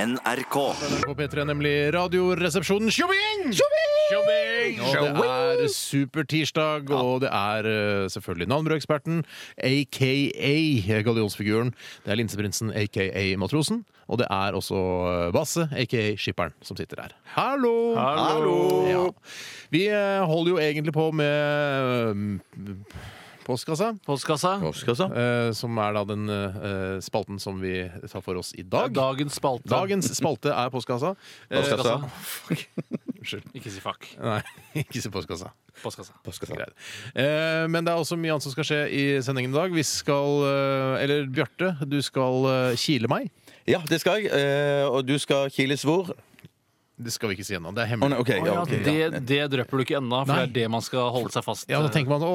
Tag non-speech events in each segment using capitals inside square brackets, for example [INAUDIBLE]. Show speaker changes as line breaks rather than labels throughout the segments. NRK.
NRK P3, nemlig Radioresepsjonen. Tjobing! Tjobing! Og det er supertirsdag, og det er eh, selvfølgelig navnbrødeksperten, aka eh, gallionsfiguren. Det er Linseprinsen, aka Matrosen. Og det er også eh, Basse, aka Skipperen, som sitter her. Hallo! Ja. Vi eh, holder jo egentlig på med mm, Postkassa,
Postkassa.
Postkassa.
eh, som er da den eh, spalten som vi tar for oss i dag.
Dagens spalte.
Dagens spalte er postkassa. Eh,
Postkassa.
Unnskyld.
Ikke si fuck.
Nei, [LAUGHS] ikke si postkassa.
Postkassa.
Postkassa.
Greit. Eh, men det er også mye annet som skal skje i sendingen i dag. Vi skal eh, Eller Bjarte, du skal eh, kile meg.
Ja, det skal jeg. Eh, og du skal kiles hvor? Å
Det skal vi ikke si ennå. Det er
nei,
hemmelig.
OK. Ja, ok, ja.
Det, det drøper du ikke ennå, for
Nei.
det er det man skal holde seg fast
Ja, Da tenker man Å,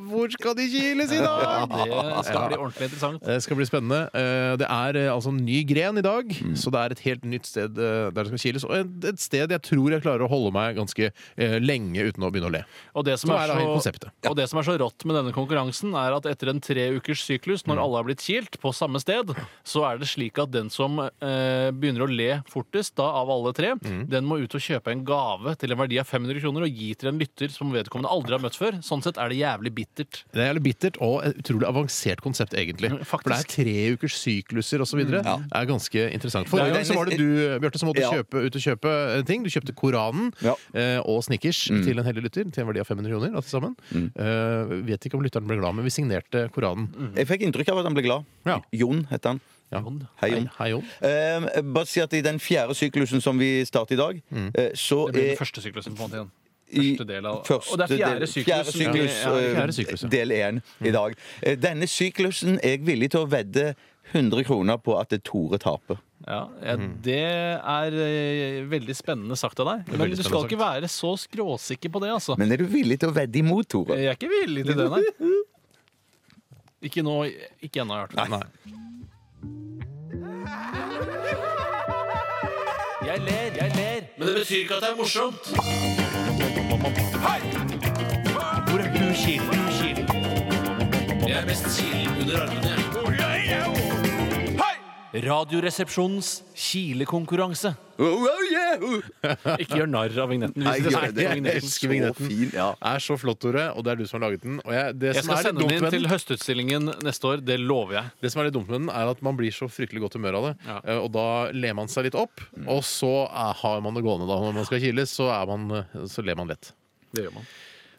hvor skal de kiles i
[LAUGHS]
dag?
Det skal bli ordentlig interessant.
Det skal bli spennende. Eh, Det er eh, altså en ny gren i dag,
Mm.
så det er et helt nytt sted eh, der det skal kiles. Og et et sted jeg tror jeg klarer å holde meg ganske eh, lenge uten å begynne å le.
Og det, som
Så
er
er det hele
så,
konseptet.
og det som er så rått med denne konkurransen, er at etter en tre ukers syklus,
Mm.
når alle har blitt kilt på samme sted, så er det slik at den som eh, begynner å le fortest da, av alle tre,
Mm.
den må ut og kjøpe en gave til en verdi av 500 kroner og gi til en lytter som vedkommende aldri har møtt før. Sånn sett er det jævlig bittert.
Det er jævlig bittert og et utrolig avansert konsept, egentlig.
faktisk.
For det er tre ukers sykluser osv. videre Det er ganske interessant.
Det er
Forrige
jo
gang så var det
nesten-
du, Bjarte, som måtte
Ja.
kjøpe, ut og kjøpe eh, ting. Du kjøpte Koranen
Ja. Mm.
eh, og Snickers til en heldig lytter til en verdi av 500 kroner da, til sammen. Eh, vet ikke om lytteren ble glad, men vi signerte Koranen.
Jeg fikk inntrykk av at han ble glad.
Ja.
Jon heter han.
Ja.
Hei, Jon.
Hei, Jon.
Eh, bare si at i den fjerde syklusen som vi starter i dag, eh, så
Det blir
er
den første syklusen på en måte igjen.
i-
første del av-
første
og det er fjerde
del-
syklus
fjerde
som vi-
syklus,
ja, Mm.
eh,
fjerde syklus, ja.
del én i dag. Eh, Denne syklusen er jeg villig til å vedde 100 kroner på at Tore taper.
Ja, ja,
Mm.
Det er eh, veldig spennende sagt av deg. Men
veldig
du skal
spennende
ikke være så skråsikker på det, altså.
Men er du villig til å vedde imot, Tore?
Jeg er ikke villig til det, nei. Ikke nå. Ikke ennå, i hvert fall.
Nei.
Jeg ler, jeg ler. Men det betyr ikke at det er morsomt. Hvor er du kilen? Jeg er mest kilen under armene. Radioresepsjonens kilekonkurranse.
Oh, oh, yeah!
Ikke gjør narr av vignetten.
Nei,
Hvis det
jeg gjør
er
det.
ikke vignetten.
Jeg elsker vignetten.
Så fin, ja.
Er så flott, Tore, og det er du som har laget den. Og jeg, det,
Jeg
som
skal
er litt
sende
dumt
den inn
med
til
den,
høstutstillingen neste år. Det lover jeg.
det som er litt dumt med den, er at man blir så fryktelig godt humør av det.
Ja.
Eh, Og da ler man seg litt opp,
Mm.
og så eh, har man det gående da når man skal kiles. Så, er man, eh, så ler man lett.
Det gjør man.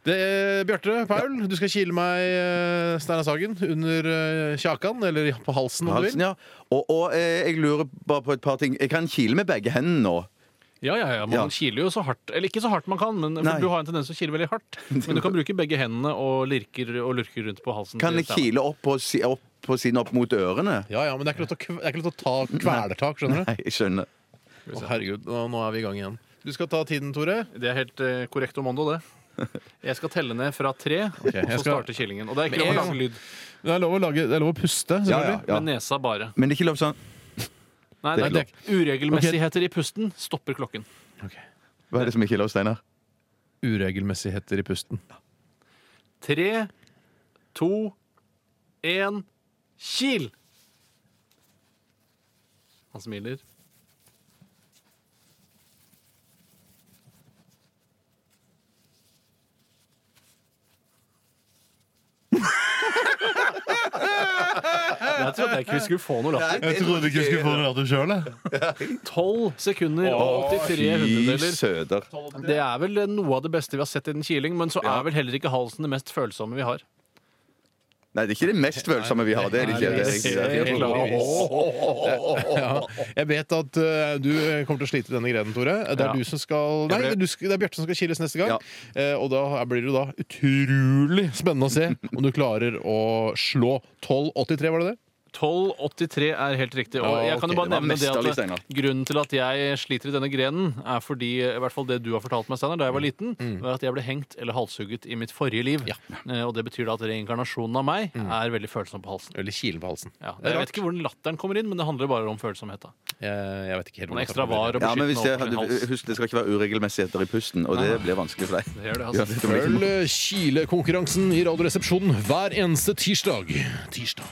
Det er Bjarte Paul, du skal kile meg eh, Steinar Sagen under eh, kjakan, eller på halsen om du
Halsen,
vil.
ja. Og, og eh, jeg lurer bare på et par ting. Jeg kan kile med begge hendene nå.
Ja, ja, ja. Man
Ja.
kiler jo så hardt. Eller ikke så hardt man kan, men
Nei.
for du har en tendens til å kile veldig hardt. Men du kan bruke begge hendene og lirker og lurker rundt på halsen.
Kan
til
jeg
Steinar.
kile opp på, si, opp på siden opp mot ørene?
Ja, ja, men det er ikke lov til å, kv- det er ikke lov til å ta kvelertak, skjønner du.
Nei, jeg skjønner.
Å, herregud, nå, nå er vi i gang igjen. Du skal ta tiden, Tore.
Det er helt eh, korrekt omondo, det. Jeg skal telle ned fra tre,
[LAUGHS]
jeg
og så
skal-
starter kilingen. Og det er
Med
ikke lov å
en gang.
lage lyd
Det er lov å, lage, det er lov å puste,
Ja,
selvfølgelig.
ja, ja.
med nesa bare.
Men det er ikke lov sånn
Nei,
Det er
nei, det er uregelmessigheter i pusten stopper klokken.
Hva er det som ikke er lov, Steinar?
Uregelmessigheter i pusten.
Tre, to, én, kil! Han smiler. Jeg trodde jeg ikke vi skulle få noe latter.
Jeg trodde ikke jeg skulle få
noe av det sjøl, jeg.
12 sekunder og 83 hundredeler.
søder.
Det er vel noe av det beste vi har sett i den kiling, men så er vel heller ikke halsen det mest følsomme vi har.
Nei, det er ikke det mest følsomme vi har. Det er det ikke. Det er ikke. det er ikke-
Jeg vet at eh, du kommer til å slite i denne grenen, Tore. Eh, Det er
Ja.
du som skal Nei,
Jeg ble-
du skal, det er Bjarte som skal kiles neste gang.
Ja.
Eh, og da blir det jo da utrolig spennende å se om du klarer å slå 12,83, var det det?
12,83 er helt riktig. Og
Ja,
jeg kan
ok,
jo bare
det var
nevne det
mesterlig,
at
Steinar.
Grunnen til at jeg sliter i denne grenen, er fordi i hvert fall det du har fortalt meg, Steinar, da jeg var liten,
Mm.
var at jeg ble hengt eller halshugget i mitt forrige liv. Eh, Og det betyr da at reinkarnasjonen av meg
Mm.
er veldig følsom på halsen.
Eller kilen på halsen.
Ja,
Det er rart.
jeg vet ikke hvor den latteren kommer inn, men det handler bare om følsomhet. da.
Jeg, jeg vet ikke helt hvordan
Man er
jeg
ekstra
skal formulere
var og
Ja, men hvis jeg,
beskyttende over sin hals.
husk, det skal ikke være uregelmessigheter i pusten, og det blir vanskelig for deg.
Det gjør det,
Ah. [LAUGHS] Ja,
altså.
det blir
Følg
ikke-
Kile-konkurransen i Radioresepsjonen hver eneste tirsdag. Tirsdag.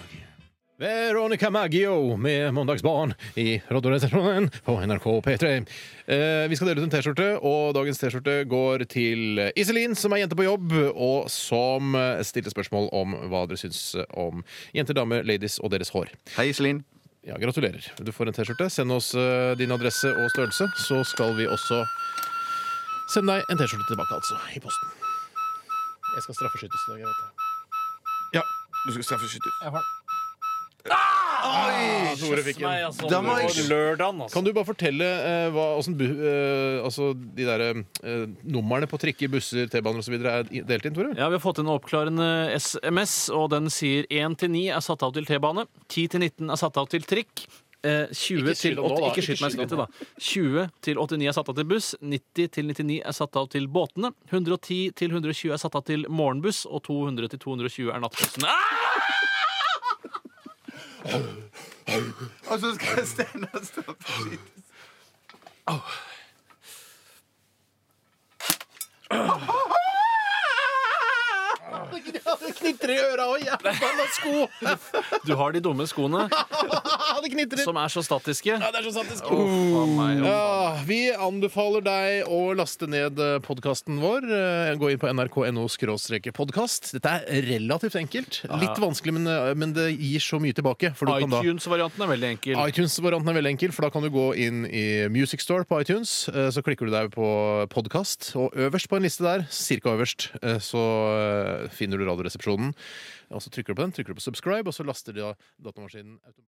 Veronica Maggio med Mandagsbarn i Radioresepsjonen på NRK P3. Eh, vi skal dele ut en T-skjorte, og dagens T-skjorte går til Iselin, som er jente på jobb, og som eh, stilte spørsmål om hva dere syns om jenter, damer, ladies og deres hår.
Hei, Iselin.
Ja, Gratulerer. Du får en T-skjorte. Send oss eh, din adresse og størrelse, så skal vi også sende deg en T-skjorte tilbake, altså, i posten. Jeg skal straffeskytes i dag, jeg vet det.
Ja, du skal straffeskyte ut.
Ah, Tore fikk en.
altså.
Da må jeg-
Lørdagen, altså.
Kan du bare fortelle eh, hva, hvordan, bu- eh, altså, de der, eh, numrene på trikker, busser, T-baner osv. er i- delt inn, Tore?
Ja, Vi har fått inn en oppklarende SMS, og den sier 1 til 9 er satt av til T-bane. 10 til 19 er satt av til trikk. Eh, 20
Ikke skyld
til
om nå,
80,
da.
ikke skyt meg i
Ikke skyld
skrittet, da. 20 til 89 er satt av til buss. 90 til 99 er satt av til båtene. 110 til 120 er satt av til morgenbuss, og 200 til 220 er nattbussen. Ah!
Og så skal Steinar straffeskyte.
Det knitrer i øra og jævla [LAUGHS] sko!
Du har de dumme skoene
Det knitrer!
som er så statiske.
det er så sant det
Å, faen meg, å, faen.
Ja, vi anbefaler deg å laste ned podkasten vår. Eh, Gå inn på nrk.no podkast. Dette er relativt enkelt. Litt vanskelig, men, eh, men det gir så mye tilbake. For du kan da
iTunes-varianten er veldig enkel.
iTunes-varianten er veldig enkel, for da kan du gå inn i Music Store på iTunes. eh, Så klikker du deg på podkast, og øverst på en liste der, cirka øverst, eh, så eh, finner du Radioresepsjonen. Og så trykker du på den, trykker du på subscribe, og så laster de da datamaskinen automatisk.